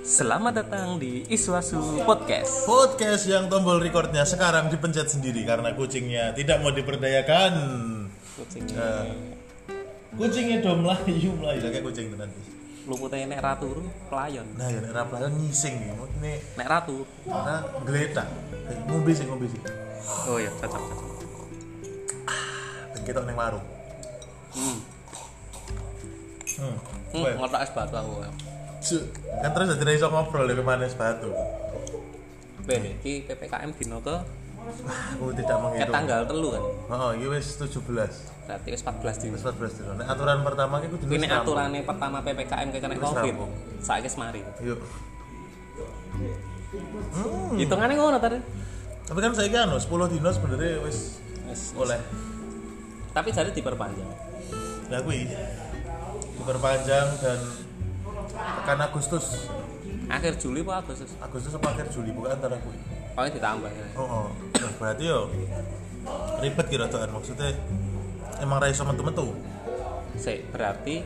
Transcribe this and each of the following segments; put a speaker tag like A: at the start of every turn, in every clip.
A: Selamat datang di Iswasu Podcast.
B: Podcast yang tombol recordnya sekarang dipencet sendiri karena kucingnya tidak mau diperdayakan.
A: Kucingnya
B: Kucingnya do melayu melayu kayak kucing tenan.
A: luputnya nek ratu ru, pelayon.
B: Nah, ya nek raplayan ngising ya. Ini
A: Nek ratu.
B: karena geletak. Eh, Ngombe sih, ngombe sih.
A: Oh iya, cocok cocok.
B: Dan kita neng warung.
A: Hmm.
B: Hmm.
A: Hmm,
B: Weh,
A: ngotak es batu aku.
B: cu- Kan terus jadi iso ngobrol ya kemana es batu.
A: Ben, iki PPKM dino ke
B: Aku tidak
A: ke
B: menghitung.
A: tanggal telu kan.
B: Oh, iya wis 17.
A: Berarti wis 14 dino.
B: Wis 14 dino. Nek aturan pertama iku
A: Ini
B: kudu wis rampung.
A: aturannya pertama PPKM kena
B: Wis Hmm.
A: Covid.
B: rampung.
A: Saiki semari.
B: Yuk.
A: Hitungannya ngono tadi.
B: Tapi kan saya kan 10 dino sebenarnya wis
A: Wis, wis.
B: oleh
A: Tapi jadi diperpanjang.
B: Nah kui diperpanjang dan tekan Agustus.
A: Akhir Juli apa Agustus?
B: Agustus apa akhir Juli bukan antara kui.
A: Pokoknya ditambah ya.
B: Oh, oh. Nah, berarti yo ribet kira tuan maksudnya emang rai sama temen tuh
A: Sik, berarti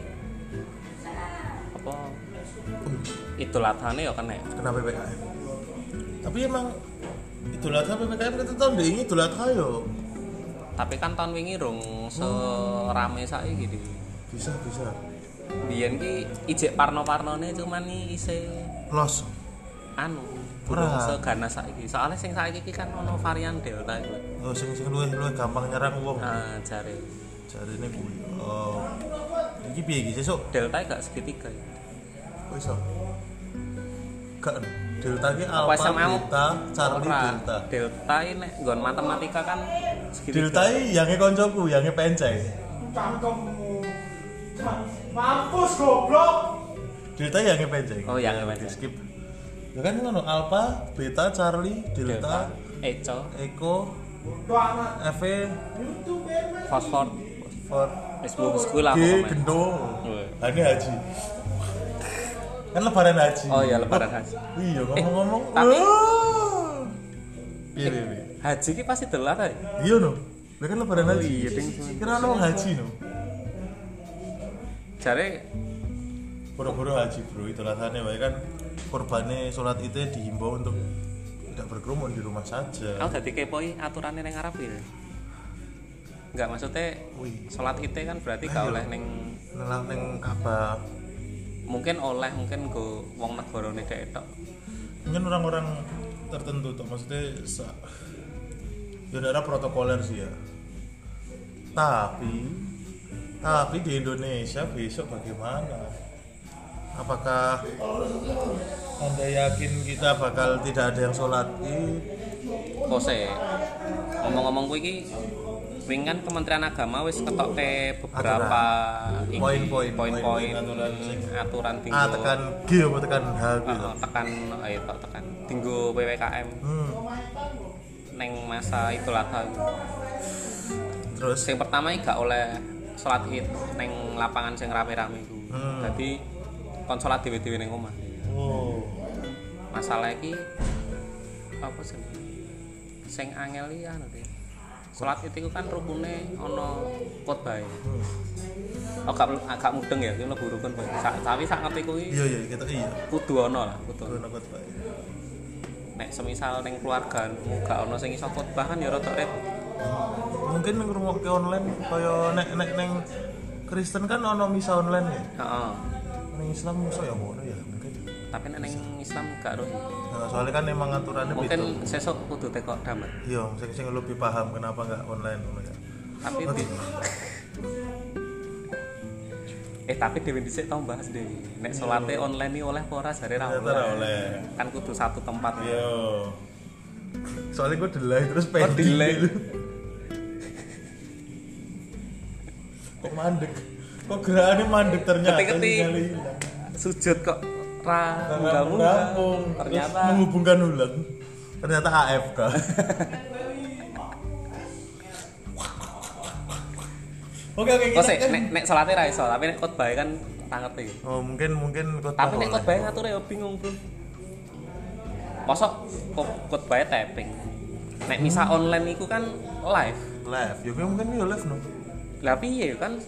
A: apa Idul Adhane ya kena.
B: kena PPKM. Tapi emang Idul Adha PPKM kita tahun kan ini Idul Adha yo
A: tapi kan tahun wingi rong serame saiki gitu
B: bisa bisa
A: biyen ki ijek parno-parnone cuman iki ise
B: los
A: anu burung
B: Ora.
A: segana saiki soalnya sing saiki ki kan ono varian delta iku
B: oh, sing sing luwih luwih gampang nyerang wong
A: ah jare
B: cari ini kui oh ini piye iki sesuk
A: delta gak segitiga ya
B: Kok iso? Gak delta ki
A: Apa
B: alpha,
A: SMA mu?
B: beta, charlie,
A: Ora.
B: delta.
A: delta ini nek nggon matematika kan segitiga
B: Delta e? iki yange koncoku, yange pencai.
C: kantongmu mampus goblok
B: Delta iki yange pencai.
A: Oh, yange pencai.
B: Di skip. Ya kan ngono, alpha, beta, charlie, delta,
A: eco
B: echo,
C: Tuh anak
B: ev,
C: youtuber
A: fosfor
B: for
A: wis bagus kuwi lah
B: g,
A: pokoknya
B: gendo.
A: Weh.
B: Ini haji. Kan lebaran haji.
A: oh iya lebaran haji
B: Iya, ngomong-ngomong.
A: tapi- Eh.
B: wah. Piye piye, piye.
A: haji ki pasti delta ya
B: Iya no. Lah kan lebaran haji.
A: iya, ding.
B: Kira ono haji no.
A: jare
B: Boro-boro haji bro, itu rasanya wae kan korbannya sholat itu dihimbau untuk tidak berkerumun di rumah saja.
A: Aku dadi kepo iki aturane ning Arab ya. Enggak maksudnya
B: Wih,
A: salat ite kan berarti gak oleh ning
B: nelang neng apa?
A: mungkin oleh mungkin go wong negarane dhek tok.
B: Mungkin orang-orang tertentu tuh maksudnya sa ya ada protokoler sih ya. Tapi tapi di Indonesia besok bagaimana? Apakah anda yakin kita bakal tidak ada yang sholat id?
A: Kose. Ngomong-ngomong kuwi iki wingi kan Kementerian Agama wis ketokke beberapa iki,
B: Poin-poin,
A: poin-poin
B: poin-poin aturan sing-
A: aturan tinggo
B: Ah tekan G apa tekan H gitu?
A: eh, tekan eh tok tekan tinggo PPKM
B: Hmm.
A: ning masa Idul Adha.
B: Terus
A: sing pertama iki gak oleh sholat id neng lapangan sing rame-rame iku.
B: Hmm.
A: Dadi kon sholat dhewe-dhewe ning omah.
B: Oh,
A: Masalah iki apa sih? Sing angel iki anu deh. Sholat id iku kan rukune ana khotbah. e. Oh gak mel- agak mudeng ya, iki mlebu rukun Pak. Sa- Tapi sak ngerti kuwi
B: iya iya kita iya.
A: kudu ana lah, kudu.
B: Gue nakut baik.
A: Nek semisal ning keluargamu gak ana sing iso khotbah kan ya rada repot.
B: Mungkin neng rumah ke online, kaya nek nek neng Kristen kan ono misa online ya.
A: Heeh.
B: Neng Islam misa ya ngono ya mungkin.
A: Tapi nek ning Islam gak roh.
B: Nah, soalnya kan emang aturannya beda.
A: Mungkin sesuk kudu tekok damet.
B: Iya, sing sing lebih paham kenapa nggak online dulu ya.
A: tapi di... eh tapi dewe dhisik tau bahas dewe nek salate online iki oleh apa ora jare ra
B: Ternyata
A: oleh
B: nggak oleh.
A: kan kudu satu tempat ya
B: Yo. Iya. Soalnya gue delay terus pengen
A: Oh, delay.
B: Kok mandek? Kok gerakannya mandek ternyata?
A: Ketik-ketik.
B: sinyalnya hilang.
A: sujud kok ra
B: Karena
A: munggah-munggah.
B: mendampung, terus
A: ternyata
B: menghubungkan ulang. Ternyata AFK. Oke oke
A: oh sik nek nek salate ra iso tapi nek khotbah kan tak ngerti
B: Oh mungkin mungkin kota
A: tapi nek khotbah ngatur ya bingung bro mosok kok- khotbah tapping nek misal online iku kan live
B: live. Ya kuwi mungkin yo live no.
A: Lah piye kan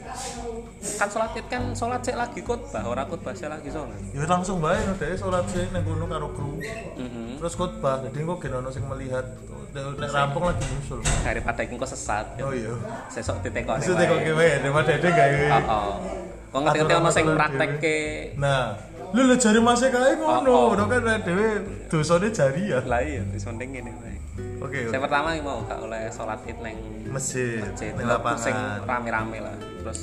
A: kan sholat id kan sholat sik lagi khotbah, ora khotbah sik lagi sholat.
B: Ya langsung bae no dhewe salat sih nang kono karo kru.
A: Heeh.
B: Terus khotbah, jadi kok gen ono sing melihat nek rampung lagi nyusul.
A: Daripada iki kok sesat. ya.
B: Oh iya.
A: Sesok titekone.
B: Maksudnya kok
A: wae.
B: kowe daripada dhewe gawe.
A: Heeh. Kok ngerti-ngerti ono sing
B: Aturan
A: praktekke
B: Nah, lu lu jari masih kae
A: Oh, oh.
B: ngono, ora kan nek dhewe dosane jari ya.
A: lah iya wis mending ngene wae.
B: Oke.
A: Saya pertama yang mau gak oleh sholat id neng
B: Masjid,
A: masjid,
B: neng
A: waktu sing
B: lapangan.
A: rame-rame lah. Terus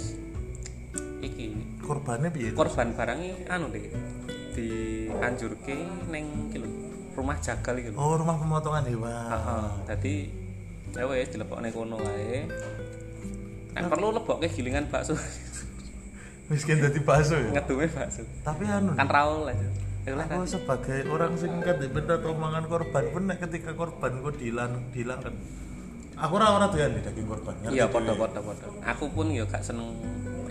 A: iki
B: Korbannya piye?
A: korban barangnya anu deh dianjurke neng iki lho, rumah jagal iki lho.
B: Oh, rumah pemotongan hewan.
A: Heeh. Dadi ya wis dilebokne kono wae. Nek perlu lebokke gilingan bakso.
B: Miskin dadi bakso ya.
A: Ngedume bakso.
B: Tapi anu,
A: Iya. Kan ra oleh. Ya lah,
B: aku sebagai orang sing kedepet atau mangan korban pun nek ketika korban kok dilan dilan kan. Aku ora ora doyan nih daging korban. ngerti
A: Iya
B: dhewe.
A: padha-padha padha. Aku pun ya gak seneng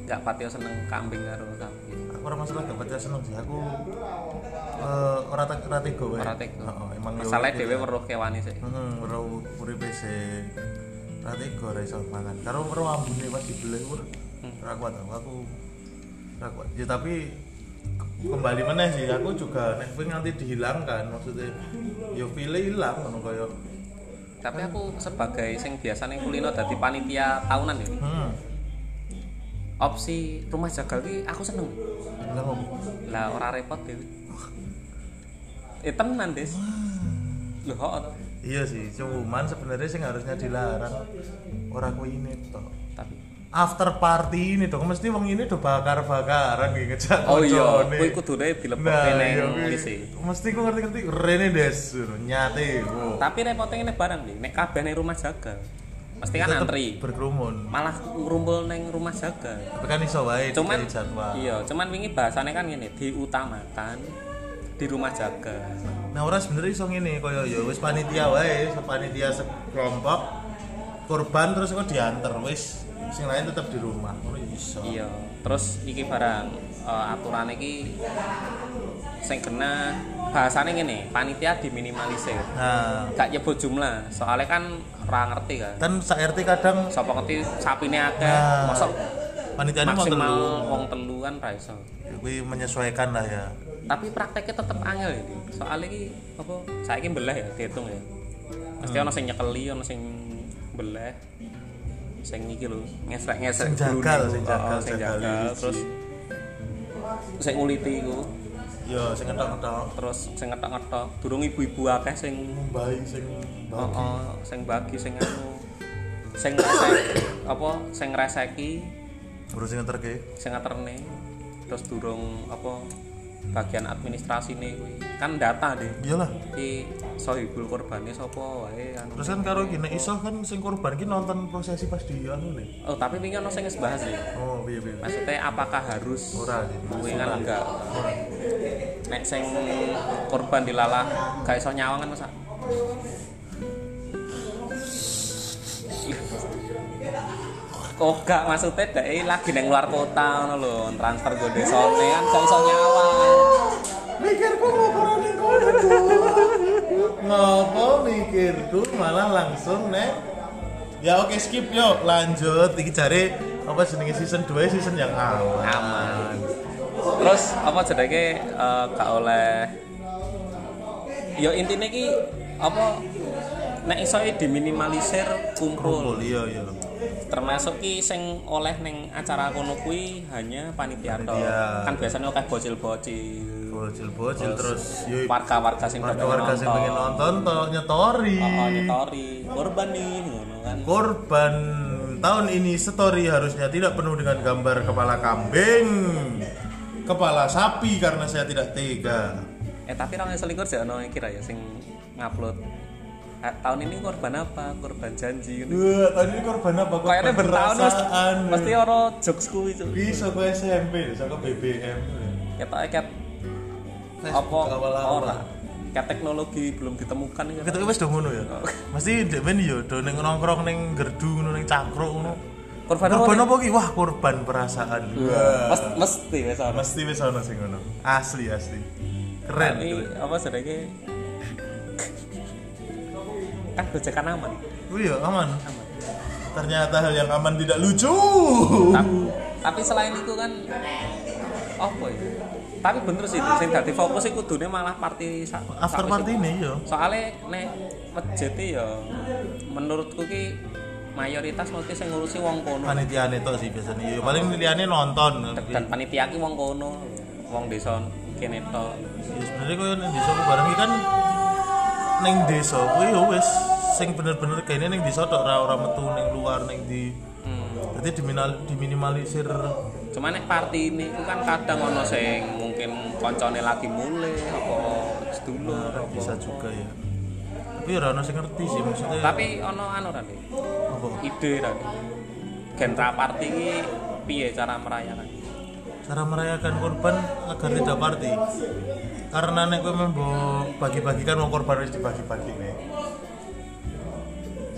A: gak patio seneng kambing karo sapi.
B: Aku ora masalah dapat ya seneng sih. Aku eh, ora tak ora tega wae.
A: Ora tega.
B: Heeh, emang ya
A: Masalahe
B: urip
A: dhewe
B: ya.
A: weruh kewane sik.
B: Heeh, ora u- uripe sing ora tega ora iso mangan. Karo ora ambune pas dibeleh ora ora kuat aku. Aku ora kuat. Ya tapi ke- kembali meneh sih aku juga nek ping nanti dihilangkan maksudnya yo pilih hilang ngono kaya
A: Tapi aku sebagai sing biasane kulino dadi panitia tahunan ya.
B: hmm
A: Opsi rumah jagal ki aku seneng.
B: hilang apa?
A: Lah ora repot dhewe. Eh tenan, Des. Lho kok to.
B: Iya sih, cuman sebenarnya sih harusnya dilarang orang ku ini toh.
A: Tapi
B: After party ini dong, mesti wong ini udah bakar-bakaran gitu ngejak
A: Oh iya,
B: kocone.
A: kuwi kudune dilebokke
B: Nah,
A: ning
B: iya, kuwi.
A: isi.
B: mesti ku ngerti-ngerti rene des ngono, nyate ku.
A: Tapi repotnya ngene barang nih, nek kabeh ning rumah jagal. Mesti kan
B: Tetep
A: antri.
B: berkerumun.
A: Malah ngrumpul ning rumah jagal.
B: Tapi kan iso wae
A: cuman
B: dikai jadwal.
A: iya cuman wingi bahasannya kan gini diutamakan di rumah jaga
B: Nah, ora sebenarnya iso ngene kaya ya wis panitia wae, panitia sekelompok korban terus kok diantar wis sing lain tetap di rumah ngono iso.
A: iya terus iki barang eh, aturan iki sing kena bahasane ngene panitia diminimalisir
B: Nah,
A: gak nyebut jumlah soalnya kan ra ngerti kan
B: kan sak RT kadang
A: sapa ngerti sapine akeh
B: Nah,
A: Eh, mosok
B: panitia ini mau
A: maksimal
B: telu.
A: wong telu kan ra iso
B: Kuwi menyesuaikan lah ya.
A: tapi prakteknya tetep angel ini soalnya iki apa saiki belah ya dihitung ya mesti
B: Hmm.
A: ono sing nyekeli ono sing belah sing iki lho ngesrek ngesrek
B: Sing jagal, sing jagal,
A: sing
B: jagal
A: jagal
B: siji.
A: terus sing nguliti iku
B: Yo Ya, sing ketok-ketok
A: terus sing ngetok-ngetok durung ibu-ibu akeh sing
B: bayi sing
A: oh, oh, sing bagi sing anu sing ngresek apa sing ngreseki
B: Bro sing ngeterke.
A: sing ngaterne terus durung apa bagian administrasi nih kan data deh
B: Iyalah.
A: iki sohibul korbane sapa wae anu.
B: Terus kan karo gini iso kan sing korban ki nonton prosesi pas di anu nih.
A: oh tapi wingi ono sing wis bahas sih
B: Oh, piye piye.
A: maksudnya apakah harus
B: Ora sih.
A: kuwi kan enggak nek sing korban dilalah gak iso nyawang kan masa kok Oh, gak maksudnya dai lagi neng luar kota ngono lho transfer go desone kan gak iso nyawang
B: Mikirku ngopo ning kono. Ngopo mikirku malah langsung nek Ya oke skip yuk lanjut iki jare apa jenenge season 2 season yang awal.
A: aman terus apa jadinya eh, gak oleh ya intinya ki apa nek iso i diminimalisir kumpul
B: Kumpul iya iya.
A: termasuk ki sing oleh neng acara kono kuwi hanya panitia tok.
B: Panitia.
A: kan biasanya oke bocil-bocil
B: Bocil-bocil terus yo
A: warga-warga sing pada
B: warga-warga sing pengen
A: nonton
B: nonton toh nyetori.
A: oh, nyetori korban nih ngono kan
B: Korban tahun ini story harusnya tidak penuh dengan gambar kepala kambing, kepala sapi karena saya tidak tega.
A: eh tapi orang selingkuh sih ono kira ya sing ngupload "Ah, tahun ini korban apa korban janji ngono.
B: Wah, tahun ini korban apa? Korban
A: kayaknya bertahun mas
B: perasaan.
A: mesti ora jokes kuwi itu
B: bisa ke SMP, bisa ke BBM.
A: kita ket apa
B: Facebook awal-awal.
A: ora ket teknologi belum ditemukan ya
B: Kita wis do ngono ya. Mesti ndek men yo do ning nongkrong ning gerdu ngono ning cangkruk ngono.
A: korban
B: Korban
A: apa
B: apa ki? Wah, korban perasaan. Wah.
A: Mes- mesti wes ana
B: Mesti wis ana sing ngono. Asli asli. Keren.
A: tapi
B: keren.
A: apa sedeke kan gojekan aman
B: Kuwi ya aman. ternyata hal yang aman tidak lucu
A: tapi, tapi selain itu kan apa ya tapi bener sih sing dadi fokus iku kudune malah party sa-
B: after
A: sawis
B: party
A: iku.
B: ini yo
A: soalnya nek masjid iki ya menurutku ki mayoritas mesti sing ngurusi wong kono
B: panitiane tok sih biasanya yo paling panitiane nonton
A: dan panitia ki wong kono wong desa kene tok
B: ya sebenarnya kau neng desa ku bareng iki kan neng desa kau yo wes sing bener-bener kayaknya neng desa tok ora ora metu neng luar neng di
A: Hmm.
B: berarti diminimal- diminimalisir
A: cuman nek party ini ku kan kadang ono sing mungkin koncone lagi mulai apa sedulur apa
B: bisa juga ya tapi ora ono sing ngerti sih maksudnya
A: tapi ono anu rane
B: apa
A: ide rane genre party iki piye cara merayakan
B: cara merayakan korban agar tidak party karena nek kowe membo bagi-bagikan wong korban wis dibagi-bagi nih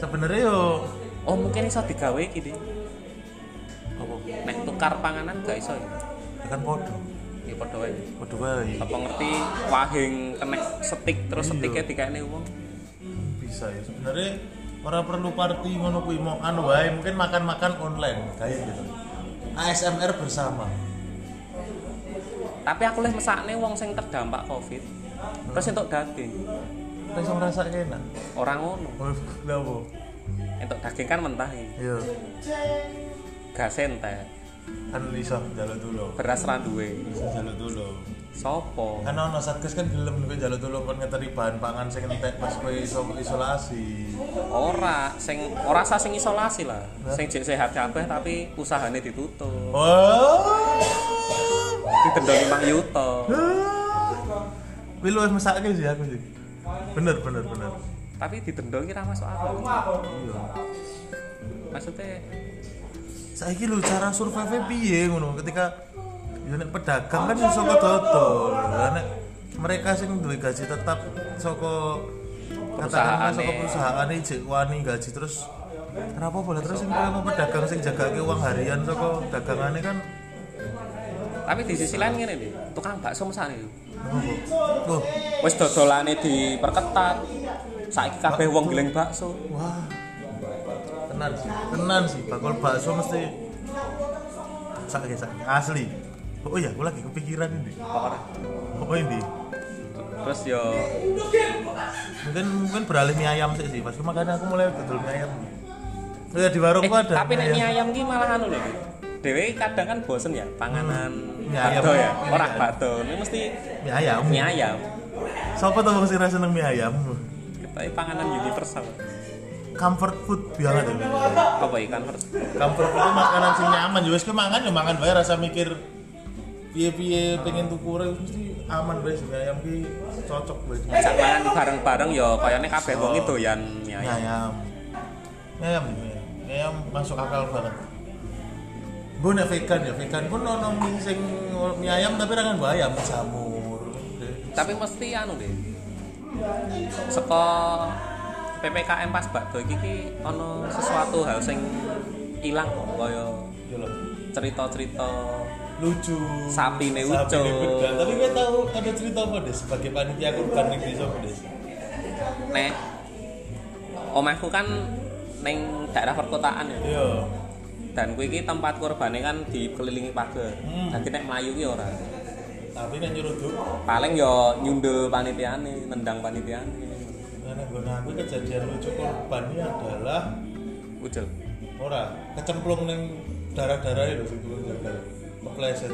B: sebenarnya yo
A: oh mungkin iso digawe iki deh
B: apa
A: nek tukar panganan gak iso ya
B: Ya kan podo
A: ya padha wae
B: podo wae
A: apa ngerti wahing kena setik terus
B: Iya.
A: setiknya dikene wong
B: bisa ya sebenarnya orang perlu party ngono kuwi mau anu wae mungkin makan-makan online kayak gitu ASMR bersama
A: tapi aku leh mesakne wong sing terdampak covid terus entuk daging
B: rasa merasa enak
A: orang ngono
B: oh lha apa
A: entuk daging kan mentah ya
B: iya
A: gas entek
B: kan iso jalan dulu
A: beras ra duwe
B: iso jalan dulu
A: sapa
B: kan ono satgas kan gelem gue jalan dulu kan ngeteri bahan pangan sing entek pas kowe iso isolasi
A: ora sing ora sah sing isolasi lah sing jek sehat kabeh tapi usahane ditutup
B: oh
A: didenda 5 yuto
B: Wih lu mesake sih aku sih bener bener bener
A: tapi didenda iki ra masuk akal
B: iya
A: maksudnya
B: saiki lho cara survive piye ngono ketika yo nek pedagang kan iso dodol Lah nek mereka sing duwe gaji tetap saka katakanlah saka
A: Perusahaane.
B: perusahaan iki jek wani gaji terus kenapa boleh terus sing kaya mau pedagang sing jagake uang harian saka dagangane kan
A: tapi di sisi lain ngene lho tukang bakso mesane lho
B: wah
A: wis dodolane diperketat saiki kabeh wong geleng bakso
B: wah tenan sih tenan sih bakul bakso mesti sakit sakit asli oh iya aku lagi kepikiran ini
A: Ora.
B: oh ini
A: terus yo
B: mungkin mungkin beralih mie ayam sih sih pas makanya aku mulai betul mie ayam Oh ya di warung
A: eh,
B: gua ada ya.
A: tapi nek mie ayam ki malah anu lho Dik. dhewe kadang kan bosen ya panganan
B: Hmm. Mie ayam.
A: bado ya
B: Mie
A: ora
B: ayam.
A: bado ini mesti
B: mie ayam
A: mie ayam
B: siapa tuh yang sih seneng mie ayam
A: tapi panganan universal
B: comfort food banget ya
A: apa kan ikan first
B: comfort food itu makanan sing nyaman ya wes makan ya makan bae rasa mikir piye piye pengen tuku ora mesti aman bae sih mie ayam ki cocok bae mie
A: Sak mangan bareng-bareng yo kayane kabeh wong iki doyan mie ayam.
B: ayam mie ayam mie ayam. Mie ayam masuk akal banget gue nih vegan ya vegan pun nono mie sing mie ayam tapi rangan gua ayam jamur
A: Tapi mesti anu deh. Seko PPKM pas bakdo iki ki ana sesuatu hal sing ilang kok kaya
B: Iya loh.
A: cerita-cerita
B: lucu
A: Sapine
B: Sapine
A: Ucok.
B: begal. tapi gue tahu ada cerita apa deh sebagai panitia kurban di desa apa deh
A: nek omahku kan neng daerah perkotaan ya
B: iya
A: dan kuwi iki tempat kurbane kan dikelilingi pagar.
B: Hmm.
A: Dadi nek mlayu ki ora.
B: tapi nek nyuruh tuh
A: Paling yo nyundel panitiane, nendang panitiane.
B: karena gue aku kejadian lucu kurban ini adalah
A: Ucul.
B: ora kecemplung e neng darah darah itu sih gue gagal kepleset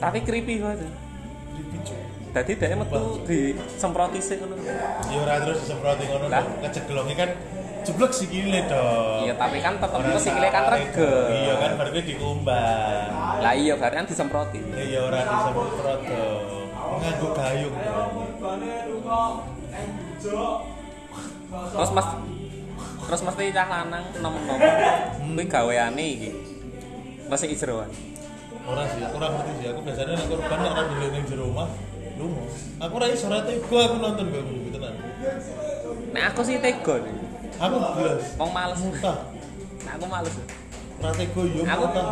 A: Tapi creepy banget.
B: dipicu
A: Dadi dhek metu disemproti sik ngono.
B: ya ora terus disemproti ngono
A: Lah?
B: kecegelongnya kan jeblok sikile dong
A: Iya, tapi kan tetep
B: Ora
A: itu sikile kan
B: salah itu. iya
A: regel.
B: kan baru gue dikumbar
A: Lah iya berarti kan disemproti.
B: Ya ya ora disemprot dong. Nganggo gayung dong.
A: Terus Mas Terus mesti cah lanang nom-nom.
B: Hmm.
A: Kuwi gaweane iki. Mesti ijroan.
B: Ora sih, aku ora ngerti sih. Aku biasanya nek korban nek ora dhewe ning jero rumah, lunga. Aku ora iso ora tega aku nonton gue ngono tenan.
A: Nek aku sih tega nih.
B: Aku blas.
A: Wong males.
B: Mutah.
A: Nek aku males.
B: Ora tega yo
A: Aku
B: mutah.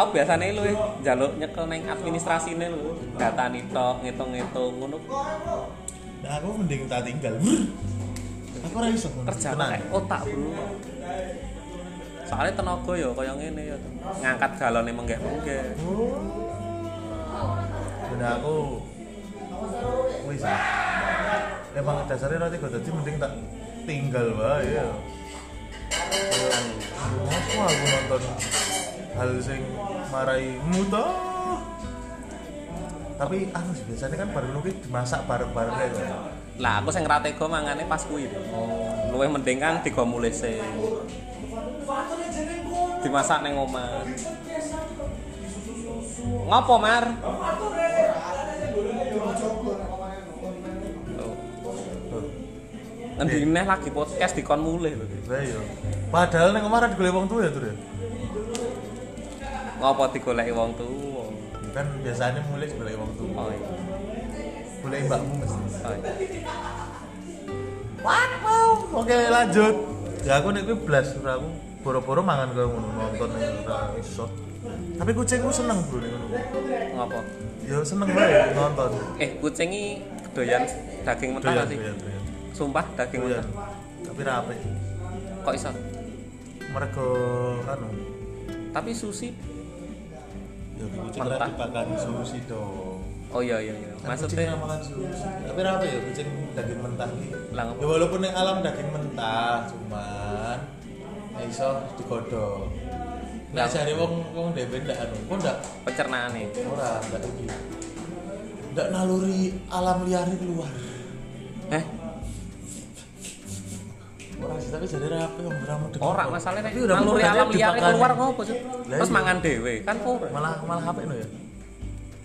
A: aku biasanya lu njaluk nyekel neng administrasine lu. Datani tok, ngitung-ngitung ngono.
B: Nah, aku mending tak tinggal. Brr. aku ora iso ngono.
A: kerja
B: Tenang.
A: pakai otak bro soalnya tenaga ya kayak ngene ya ngangkat galon yang menggek menggek
B: Benda aku wis ah. Emang dasarnya roti gue tadi mending tak tinggal wae ya. Aku aku nonton hal sing marai muta. Tapi anu sih biasanya kan baru nuki dimasak bareng-bareng ya. kan.
A: lah aku sing ratego mangane pas kuwi luwih mending kan digo mulih sih dimasak ning omah ngopo mar Tuh.
B: Tuh.
A: Ngendi neh lagi podcast dikon mulih lho.
B: Lah iya. Padahal neng omah ada golek wong tuwa ya tuh ya.
A: Ngopo digoleki wong tuwa?
B: Kan biasanya mulai golek wong tuwa.
A: Oh iya.
B: Golek mbakmu mesti.
A: Oh iya.
B: Wow, oke lanjut. Ya aku nek kuwi blas ora aku boro-boro mangan kaya ngono nonton ning ora iso. Tapi kucingku seneng bro ning ngono.
A: Ngopo?
B: Ya seneng wae nonton.
A: Eh, kucing iki kedoyan daging mentah
B: Doyan,
A: gak sih?
B: doyan, doyan.
A: Sumpah daging
B: Doyan.
A: mentah.
B: Tapi rapi.
A: Kok iso?
B: Mergo anu.
A: Tapi sushi
B: Ya kucing
A: ora Mentah.
B: dipakan sushi dong.
A: Oh iya iya iya.
B: Maksudnya
A: Maksudnya
B: makan sushi. Tapi rapi ya kucing daging mentah iki.
A: Lah,
B: Ya walaupun ning alam daging mentah cuman ya iso digodhog.
A: Lah.
B: Nek jare wong wong dhewe ndak anu, kok ndak
A: pencernaan nih.
B: Ora, ndak iki. Ndak naluri alam liar iki luar.
A: Eh,
B: Ora sih tapi jadi rapi wong ramu dekat.
A: ora masalahnya nek
B: Tapi udah
A: naluri
B: bukannya
A: alam liar
B: dimakan.
A: keluar ngopo sih?
B: Lah,
A: Terus
B: iya.
A: mangan dhewe kan ora.
B: Malah malah HP no ya.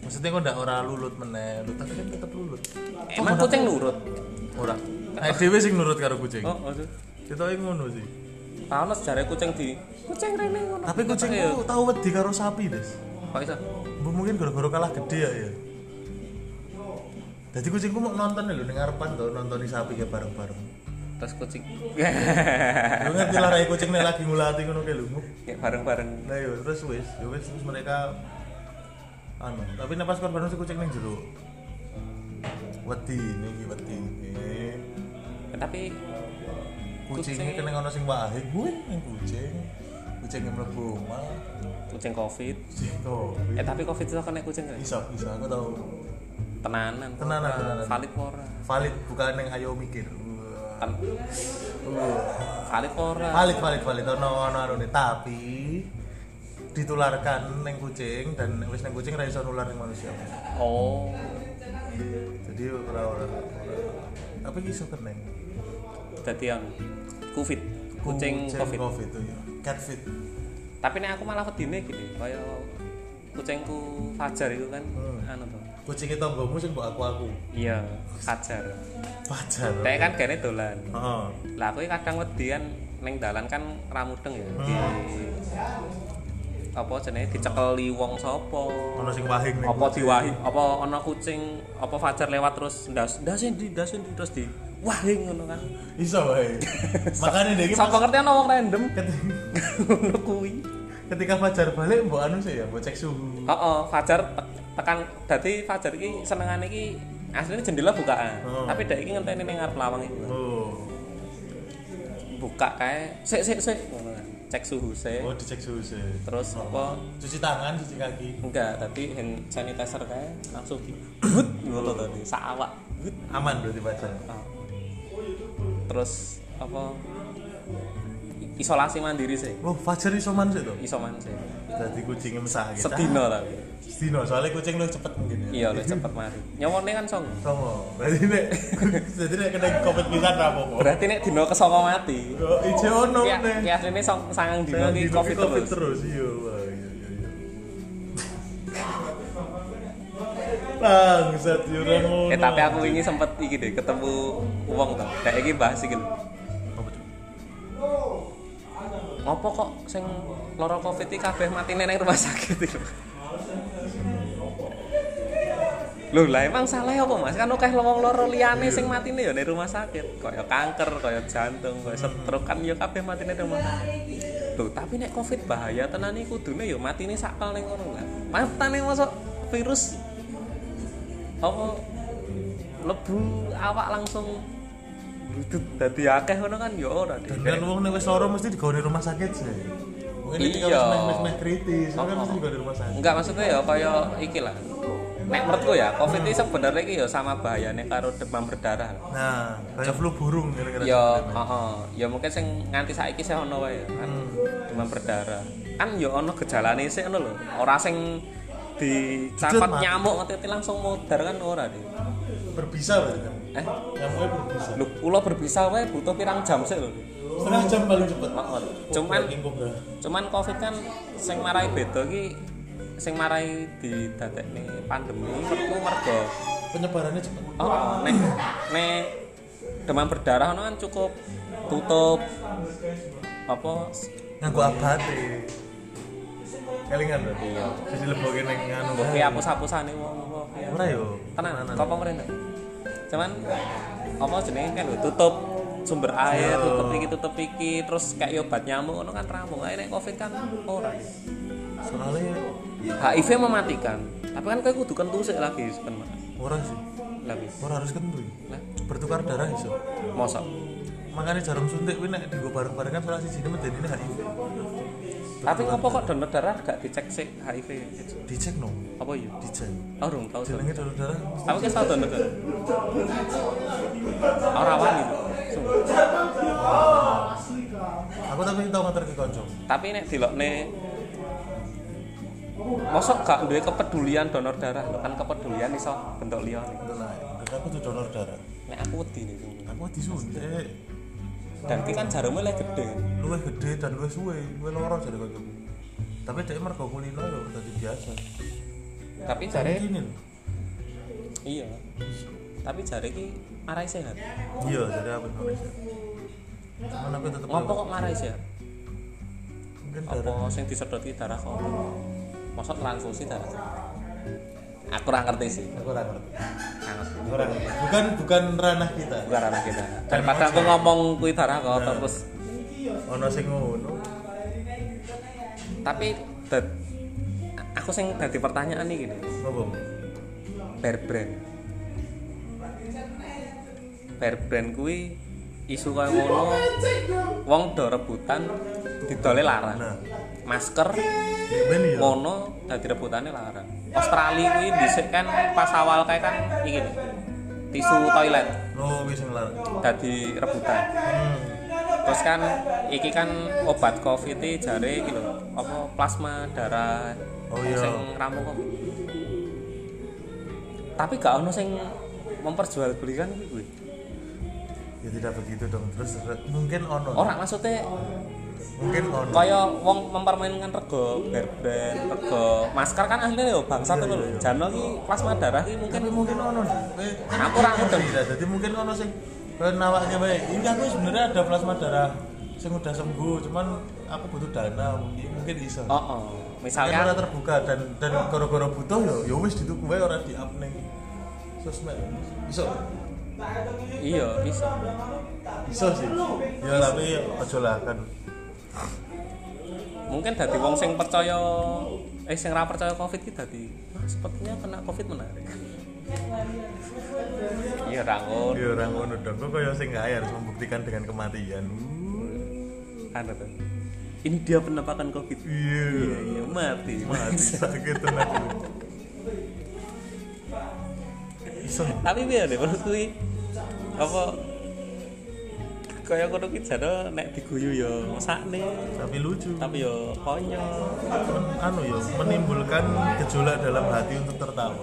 B: Maksudnya kok ndak ora lulut meneh, lu tapi kan tetep lulut.
A: Eh, Emang
B: Kok
A: kucing nurut.
B: ora. Nah, dhewe sing nurut karo kucing.
A: Oh, oh. sih.
B: Cetoke ngono sih.
A: Tahu sejarah kucing di kucing rene ngono.
B: Tapi kucingku
A: ya.
B: tau wedi karo sapi, Des.
A: kok iso?
B: Mbok mungkin gara-gara kalah gede ya ya. Jadi kucingku mau nonton lho ning ngarepan to nontoni sapi kayak bareng-bareng.
A: Terus kucing
B: Lu ngerti lah rai kucing nek lagi ngulati ngono kayak lho.
A: kayak Ya, bareng-bareng.
B: Nah yo terus wis, yo wis terus mereka anu, tapi nek pas korban si kucing ning jero. Wedi niki wedi. Eh,
A: Ya, Tapi
B: Kucingnya
A: Kucing.
B: kena ngono sing wae, kuwi ning kucing. Kucing yang mlebu omah,
A: kucing covid.
B: kucing to.
A: Eh tapi covid itu kena kucing nggak?
B: Bisa bisa aku tahu.
A: tenanan
B: Tenanan, tenanan.
A: valid ora
B: Valid bukan yang ayo mikir. Wah.
A: Ten-
B: Wah.
A: valid ora
B: valid valid valid ono ono ono nih tapi ditularkan neng kucing dan wis neng kucing ra iso nular neng manusia
A: oh
B: jadi ora ora ora. tapi iso keneng
A: jadi yang covid kucing covid
B: covid itu ya cat fit
A: tapi nek aku malah wedine gini kaya kucingku Fajar itu kan
B: Hmm.
A: anu tuh
B: kucing itu tonggomu sing mbok aku aku
A: iya Fajar
B: pacar
A: Tapi kan gane dolan
B: heeh
A: lah aku ini kadang wedi kan neng dalan kan ramudeng ya di
B: Hmm.
A: apa jenenge dicekeli wong sapa
B: ono sing wahing neng
A: apa
B: kucing.
A: diwahi apa ana kucing apa Fajar lewat terus ndas ndas ndi ndas ndi terus di wah ngono kan
B: iso wae makane dek iki
A: Sapa
B: pas-
A: ngerti ana wong random
B: ketika-
A: ngono kuwi.
B: ketika pacar balik mbok anu sih ya mbok cek suhu
A: Heeh, Oh, Fajar te- tekan dadi Fajar iki senengane iki asline jendela bukaan.
B: Oh.
A: Tapi dek iki ngenteni ning ngarep lawang iki.
B: oh
A: Buka kae, sik sik sik ngono kan. Cek suhu sik.
B: oh dicek suhu sih
A: Terus apa
B: cuci tangan cuci kaki
A: enggak tadi hand sanitizer kae langsung di but ngono tadi sak awak. But.
B: aman berarti pacar
A: Ah. Terus apa i- isolasi mandiri sih.
B: Wah, Oh, Fajar iso man sih tuh.
A: Isoman sih.
B: Dadi kucingnya mesah gitu.
A: Sedina tapi.
B: Sedino, soalnya kucing lu cepet mungkin ya.
A: Iya, lek cepet mari. Nyawone kan song.
B: Somo. Berarti nek jadi nek kena covid pisan ra apa-apa.
A: Berarti nek dina kesanga mati.
B: Yo ijo ono
A: Ya,
B: nih.
A: ya asline song sangang dina
B: Jangan
A: iki
B: Iya, dino
A: covid
B: ki Covid
A: terus.
B: terus. Iya, wah, iya, iya, iya. Bangsat yo ora ngono.
A: Eh tapi aku ini sempet iki deh ketemu wong to. Dek iki bahas iki. lho. Ngopo kok sing loro covid iki kabeh mati neng rumah sakit iki. lho? Lho lah emang salah apa Mas? Kan akeh wong loro liyane sing matine ya ning rumah sakit. Kaya kanker, kaya jantung, kaya stroke kan ya kabeh matine ning rumah sakit. Lho, tapi nek Covid bahaya tenan iki kudune ya matine sakal ning ngono lah. Matane masuk virus apa lebu awak langsung Itu dadi akeh ngono kan ya ora, Dik.
B: Dan wong nek wis lara mesti digawe rumah sakit sih. Mungkin iki
A: Iya. Oh,
B: kalau mes mes kritis, kan mesti digawe rumah sakit.
A: Enggak maksudnya ya kaya iki lah. Nek menurutku ya, Covid ini sebenarnya iki ya sama bahayane karo demam berdarah. lah.
B: Nah, kayak flu burung kira-kira.
A: Ya, heeh. Ya mungkin sing nganti saiki sih ono wae ya, kan demam berdarah. Kan ya ono gejalane sih ono lho. Ora sing
B: Cut,
A: dicakot
B: Mak.
A: nyamuk ngerti langsung mudar kan ora, Dik.
B: Berbisa berarti kan.
A: Eh,
B: Nyamuknya berbisa.
A: lho kula berbisa wae butuh pirang jam sih lho.
B: Setengah jam paling cepet.
A: Heeh. Cuman cuman Covid kan sing marai beda iki sing marai didadekne pandemi menurutku mergo
B: penyebarannya cepet.
A: Oh, nek nek demam berdarah ono kan cukup tutup apa
B: Nganggo abate. Kelingan berarti.
A: Iya.
B: Jadi lebokin neng anu.
A: oke hapus-hapusane wong apa ya.
B: Ora yo.
A: Tenan,
B: Tenanan.
A: kok pemerintah. Cuman apa jenenge kan lho, tutup sumber air,
B: Yo.
A: tutup iki tutup iki, terus kayak obat nyamuk ngono kan rampung. Ae nek Covid kan ora.
B: Soalnya
A: HIV mematikan. Tapi kan kowe kudu kentu sik lagi kan, kena.
B: orang sih.
A: Lagi.
B: Orang harus kentut.
A: Lah,
B: Bertukar darah iso.
A: mosok.
B: Makanya jarum suntik kuwi nek dienggo bareng-bareng kan salah siji medeni ini HIV.
A: Tapi ngopo kok donor darah gak dicek sik HIV?
B: Dicek no,
A: Apa ya?
B: dicek.
A: Oh, rung tau.
B: Jenenge donor darah
A: Tapi kita tahu kan? Orang awal gitu. Sumpah.
B: Aku tapi tau nganter ke konco.
A: Tapi nek dilokne Mosok gak duwe kepedulian donor darah lho kan kepedulian iso bentuk liya nih.
B: Betul lah. Betul, Aku tuh donor darah.
A: Nek aku wedi nih sumpah.
B: Aku disuntik.
A: Dan iki kan jarumnya lek gede.
B: Luwih gede dan luwih suwe, luwih loro jadi koncoku. Tapi dia mergo kulino ya dadi biasa.
A: Tapi jare
B: Gini lho.
A: iya. Tapi jare iki marai sehat.
B: Iya, jadi apa Indonesia. Cuman aku tetep
A: Ngopo kok marai sehat?
B: mungkin darah.
A: Apa sing disedot iki darah kok? Mosok transfusi darah. Aku ora ngerti sih.
B: Aku ora ngerti.
A: Ora ngerti.
B: Aku ora ngerti. Bukan bukan ranah kita.
A: Bukan ranah kita. Daripada aku ngomong kuwi darah kok
B: Nah.
A: terus
B: Ono sing ngono.
A: tapi dad, aku sing dadi pertanyaan nih gini
B: Apa?
A: bear brand bear brand kuwi isu kaya ngono wong do rebutan didole larang
B: Nah.
A: masker
B: Ben ya.
A: ngono dadi rebutane larang Australia kuwi dhisik kan pas awal kayak kan iki nih, tisu toilet
B: Lo Oh, wis sing Hmm, larang.
A: dadi rebutan terus kan iki kan obat covid iki jare iki lho apa plasma darah
B: Oh iya.
A: sing rampung kok tapi gak ono sing kan memperjualbelikan kuwi kuwi
B: Ya tidak begitu dong. Terus terus- mungkin ono.
A: ora maksudnya
B: Mungkin ono.
A: kaya wong mempermainkan rego berben rego masker kan aslinya yo bangsa
B: Iya,
A: tuh
B: iya,
A: lho
B: iya.
A: jano ki plasma darah ki mungkin
B: tapi mungkin ono eh,
A: Aku ora ngerti.
B: Iya, jadi mungkin ono sing eh, nawaknya baik ini aku sebenarnya ada plasma darah sing udah sembuh cuman aku butuh dana mungkin mungkin iso
A: oh, oh.
B: Mungkin ora
A: misalkan
B: terbuka dan dan gara-gara butuh ya ya wis dituku wae ora di up ning sosmed iso
A: iya iso
B: iso sih ya tapi aja lah kan
A: mungkin dadi wong sing percaya eh sing ra percaya covid ki dadi "Wah, sepertinya kena covid menarik iya rangun
B: ya ora ngono dong kok kaya sing gawe harus membuktikan dengan kematian
A: anu tuh ini dia penampakan covid iya
B: iya
A: iya mati
B: mati sakit tenan iso
A: tapi biar deh menurut kuwi apa kaya ngono ki jare nek diguyu ya mesakne
B: tapi lucu
A: tapi yo konyol
B: anu ya menimbulkan gejolak dalam hati untuk tertawa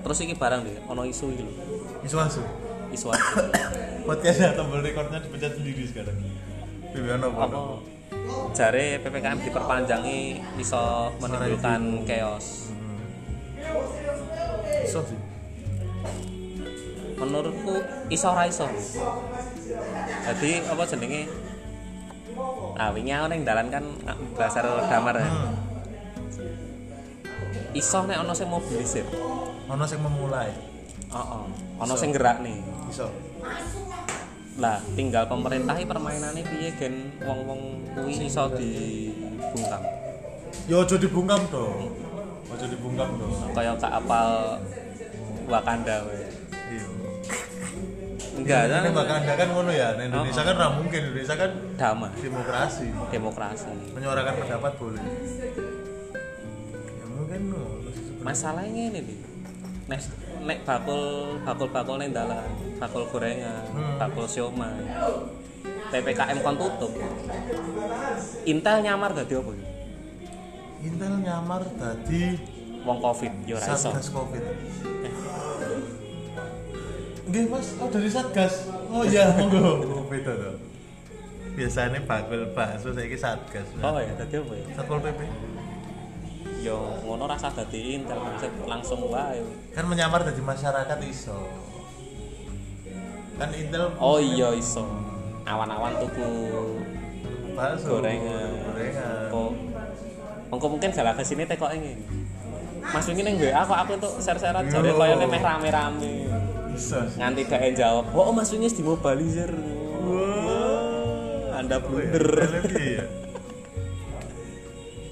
A: terus iki barang deh ono isu iki lho
B: isu asu
A: isu apa
B: podcastnya tombol recordnya dipencet sendiri sekarang Bibi ono
A: apa
B: apa
A: jare PPKM diperpanjangi iso menimbulkan chaos
B: iso sih
A: menurutku iso ora iso jadi apa jenenge nah wingi aku ning dalan kan belajar damar ya. iso nek ana sing mobilisir
B: ono sing memulai
A: heeh ana sing gerak nih
B: iso
A: lah tinggal pemerintahi permainannya piye gen wong-wong kuwi iso dibungkam
B: ya ojo dibungkam dong ojo dibungkam dong
A: kaya tak apal Wakanda we
B: iya
A: Enggak, kan?
B: Ini bakal anda kan ngono ya. Nah,
A: Oh.
B: Indonesia kan nggak mungkin. Indonesia kan
A: damai
B: demokrasi.
A: demokrasi
B: Menyuarakan pendapat boleh. Ya mungkin ngono sih sebenarnya.
A: masalahnya ini nih nek nek bakul bakul bakul nih dalan bakul gorengan
B: Hmm.
A: bakul siomay ppkm kon tutup intel nyamar gak apa ya?
B: Intel nyamar tadi
A: wong covid yo ra iso
B: satgas covid. Nggih mas, oh dari satgas. Oh iya, monggo. Beda to. Biasanya bakul bakso saiki satgas.
A: oh ya dadi apa ya
B: Satpol PP
A: yo ngono rasa dadi intel langsung langsung wae
B: kan menyamar dari masyarakat iso. Kan Intel
A: oh iya iso awan-awan tuku
B: bakso
A: gorengan
B: gorengan.
A: kok mongko mungkin salah ke sini teh kok ini Mas wingi ning WA kok aku untuk share-share aja
B: Yo.
A: koyo meh rame-rame.
B: Iso. sih.
A: nganti gak yang jawab oh mas Winges di mobilizer Wah, anda
B: Oh, ya,
A: blunder
B: Intel iya, ya.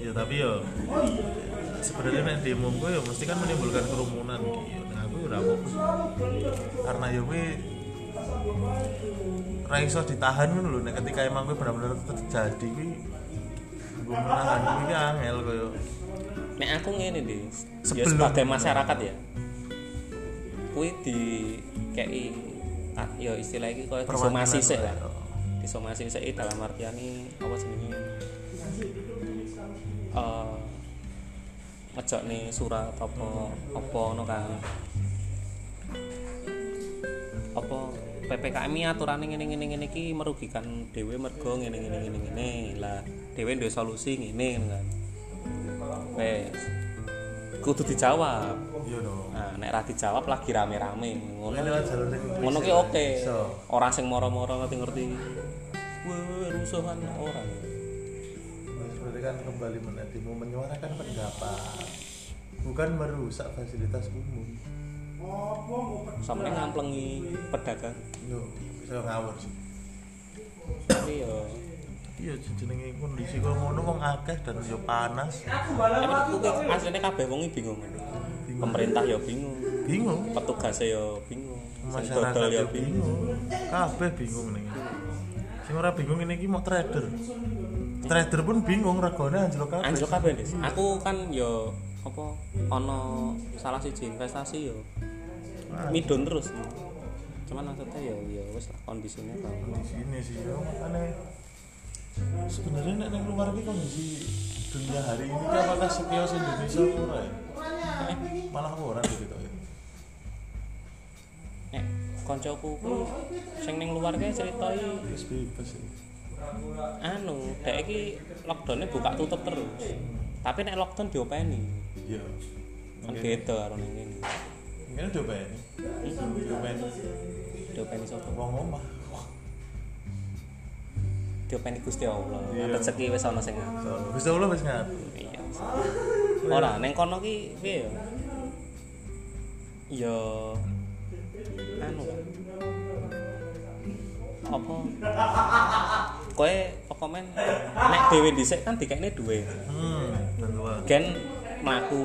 B: Ya tapi yo sebenarnya nek demo ku yo mesti kan menimbulkan kerumunan gitu. Nah aku yo ora apa-apa sih. Karena yo kuwi ra iso ditahan ngono lho nek ketika emang kuwi benar-benar terjadi kuwi gue menahan kuwi angel koyo
A: nek aku ngene deh ya
B: Sebelum-
A: sebagai masyarakat ya kui di KI ah, ya istilah iki koyo
B: Perwakilan
A: disomasi sik
B: lah.
A: lah disomasi sik dalam artian ini apa jenenge eh ngejok nih surat apa apa no kan apa PPKM ini aturannya ngene ngene ngene iki merugikan dhewe mergo ngene ngene ngene ngene lah dhewe duwe solusi ngene ngono kan wes kudu dijawab
B: yo dong.
A: nah nek ra dijawab lagi rame-rame ngono
B: Kuwi lewat jalur sing kuwi
A: ngono ki
B: sih.
A: oke
B: Iso.
A: orang sing moro-moro ngerti ngerti wah rusuhan orang
B: Nah, sebenarnya kan kembali menetimu menyuarakan pendapat bukan merusak fasilitas umum
C: Apa mau
A: sama nek ngamplengi pedagang
B: no bisa ngawur sih
A: tapi yo
B: iya jenenge kondisi kok ngono wong akeh dan yo panas
C: Aku balik
A: tapi
C: lagi
A: aku ki asline kabeh wong bingung pemerintah yo bingung
B: bingung
A: petugasnya yo bingung sing dodol ya
B: masyarakat yo bingung kabeh bingung ning ini. sing ora bingung ini iki mau trader trader pun bingung regane anjlok kabeh
A: anjlok kabeh Des. Aku kan yo apa ana salah siji investasi yo midun terus. Cuman maksudnya yo yo wis lah kondisinya tau.
B: kondisi ini sih yo makane sebenarnya nek ning luar iki kondisi dunia hari ini ki apakah sekios Indonesia apa ora ya
A: Eh?
B: malah ora gitu ya
A: Nek koncoku ku sing ning luar kae ceritai
B: wis bebas sih
A: anu dek iki lockdownnya buka tutup terus. Tapi nek lockdown diopeni.
B: iya
A: Kan beda karo ning ngene.
B: ini coba ini coba ini
A: Diopeni sapa?
B: wong omah
A: Diopeni Gusti Allah.
B: Iya.
A: Rezeki wis ana sing ngatur.
B: Gusti Allah wis ngatur
A: Iya. Ora neng kono ki piye ya? Ya anu. Apa? Koe pokoknya nek dhewe dhisik kan dikekne duwe.
B: hmm dan luar
A: Gen mlaku.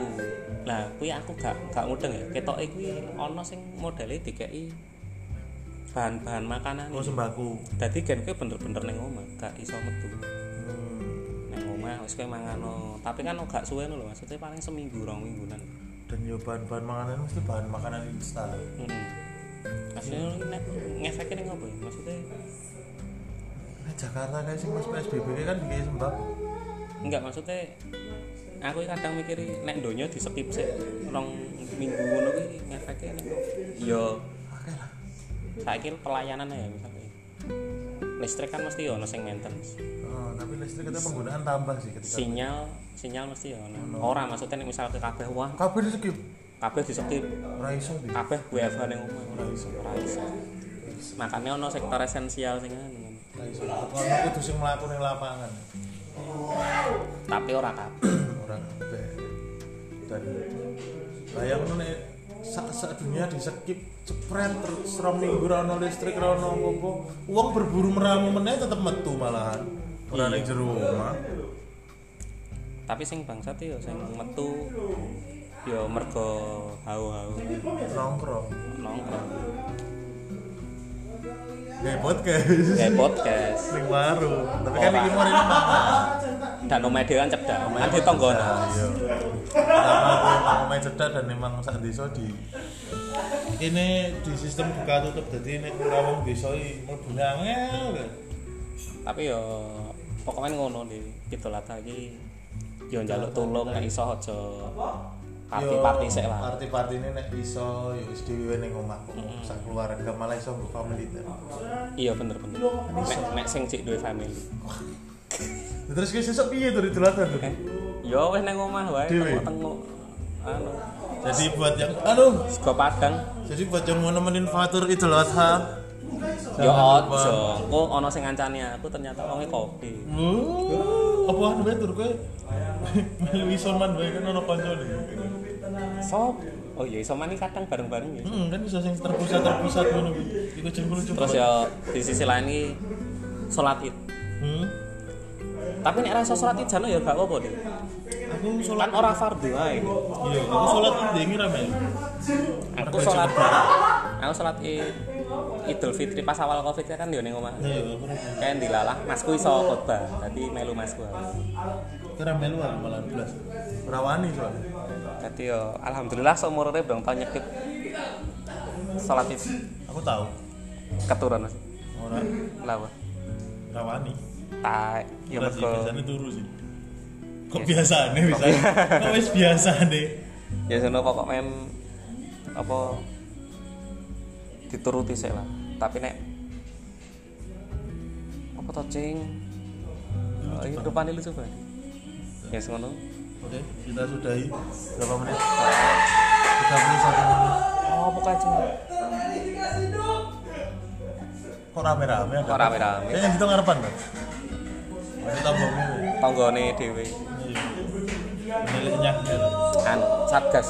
A: Lah kuwi aku gak gak mudeng ya. Ketoke kuwi ana sing modele dikeki bahan-bahan makanan.
B: oh sembako
A: Dadi gen kuwi bener-bener ning omah, gak iso metu.
B: hmm.
A: nang omah wis kowe mangano tapi kan gak suwe lho maksudnya paling seminggu rong minggunan
B: dan yo bahan-bahan makanan mesti bahan makanan instan
A: heeh asline nek ngefeke ning opo ya maksudnya
B: nah, Jakarta kayak sing mas PSBB kayak kan dikasih sembako
A: enggak maksudnya aku kadang mikir nek donya di skip sik rong minggu ngono kuwi ngefeke ning opo? yo
B: oke lah
A: saiki pelayanan ya misalnya listrik kan mesti ono sing maintenance
B: oh, tapi listrik kita penggunaan tambah sih ketika
A: sinyal sinyal mesti ono ora maksudnya nek misal kabeh wah
B: kabel itu skip
A: kabeh di skip
B: ora iso deh
A: kabeh WFH ning omah ora iso ora iso makanya ono sektor esensial sing anu.
B: ora iso Pokoknya aku kudu sing mlaku ning lapangan
A: tapi ora kabeh
B: ora kabeh dan bayang nek sak sak dunia di skip cepret terus rom minggu ra ono listrik ra ono apa uang berburu meramu meneh tetep metu malahan ora ning jero omah
A: tapi sing bangsat yo sing metu yo mergo hau-hau
B: nongkrong
A: nongkrong
B: Gaya podcast.
A: kayak podcast
B: Sing baru. Tapi kan
A: Ora.
B: iki mau ini patah.
A: dan omah dhewe kan cedak kan di tonggone
B: Iya. Pertama aku emang pemain cerdas dan memang sak desa di ini di sistem buka tutup jadi ini kurang desa ini mlebu angel. kan.
A: tapi yo pokoknya ngono di gitu lah lagi yo njaluk tulung nek iso aja party-party sik
B: Yo,
A: lah
B: Party-party ini nek iso yo wis dhewe ning omah kok sak keluarga malah iso nggo family time.
A: iya bener-bener nek nek sing cik duwe family
B: Terus ki sesuk piye to didolakan tuh?
A: Eh, yo wis nang omah wae
B: Dewe?
A: tengok-tengok anu
B: Jadi buat yang aduh,
A: sego padang
B: jadi buat yang mau nemenin Fatur Idul Adha.
A: yo
B: jangan lupa.
A: ojo kok ono sing ngancani aku ternyata wonge kopi
B: Wuh, Uh, apa anu bae tur kowe? Melu isoman bae kan ono kancane.
A: sop oh iya iso mani kadang bareng-bareng ya
B: Hmm, kan iso sing terpusat-terpusat ngono kuwi. Iku jeneng lucu.
A: terus ya di sisi lain iki salat id
B: Hmm.
A: tapi nek ra iso salat id jano ya gak apa-apa deh
B: Aku
A: kan
B: sholat
A: ora fardu ae
B: iya, aku sholat ndengi ra melu.
A: aku
B: Mergo
A: sholat
B: cepet.
A: aku sholat id idul fitri pas awal covid kan yo ning omah
B: Iya, aku ra melu.
A: kan dilalah masku iso khotbah tadi melu masku
B: Aku ra melu aku malah blas. Ora wani soalnya.
A: tadi yo alhamdulillah seumur urip dong tahun nyekip sholat id
B: Aku tahu.
A: keturunan sih
B: Ora
A: lawa
B: ra wani.
A: tak yo
B: Ora sih,
A: mergo
B: biasanya turu sih.
A: Iya.
B: Kok biasa nih bisa? Kok wis biasa nih?
A: ya sono pokok mem apa dituruti sih lah tapi nek apa to cing oh, iya, rupanya lucu banget ya ngono
B: Oke, kita sudahi berapa menit? 31 menit.
A: oh pokoknya cing
B: Kok rame-rame ada?
A: kok rame-rame
B: Kayaknya gitu ngarepan kan? Ini tambah mulu.
A: tanggone dhewe
B: Miliknya.
A: anu satgas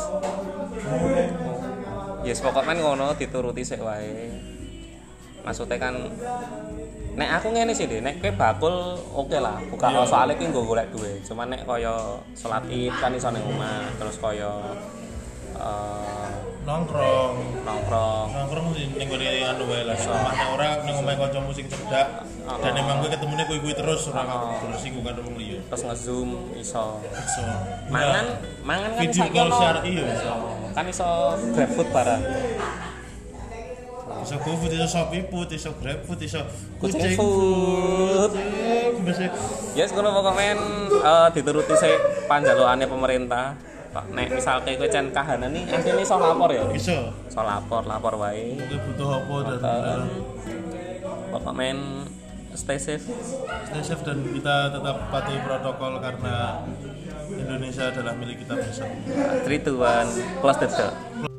A: ya yes, pokoknya ngono dituruti sik wae maksudnya kan nek aku ngene sih deh nek kowe bakul oke lah buka
B: Iya.
A: soalnya ki nggo golek duit cuman nek kaya salat id kan iso ning omah terus kaya eh,
B: Nongkrong.
A: nongkrong
B: Nongkrong sih ning gone anu wae lah. Omahnya ora ning omahe kanca musik cedak. Dan emang gue ketemunya kuwi-kuwi terus ora terus iku kan wong liya.
A: terus ngezoom iso
B: So.
A: mangan mangan kan
B: Video
A: saiki
B: call
A: ono-
B: secara iya.
A: kan iso grab food barang
B: Iso GoFood, iso ShopeeFood, iso GrabFood, Eh, iso
A: Kucing food.
B: Kucing, Kucing.
A: Yes, kalau mau komen eh, dituruti sih panjaluannya pemerintah. Pak, nek misalnya kowe cen kahanan nih, asline iso lapor ya.
B: Iso.
A: Iso lapor, lapor wae.
B: Oke butuh apa dan
A: Eh, Pokok men stay safe.
B: stay safe dan kita tetap patuhi protokol karena Indonesia adalah milik kita bersama.
A: 3 2 1 close the door.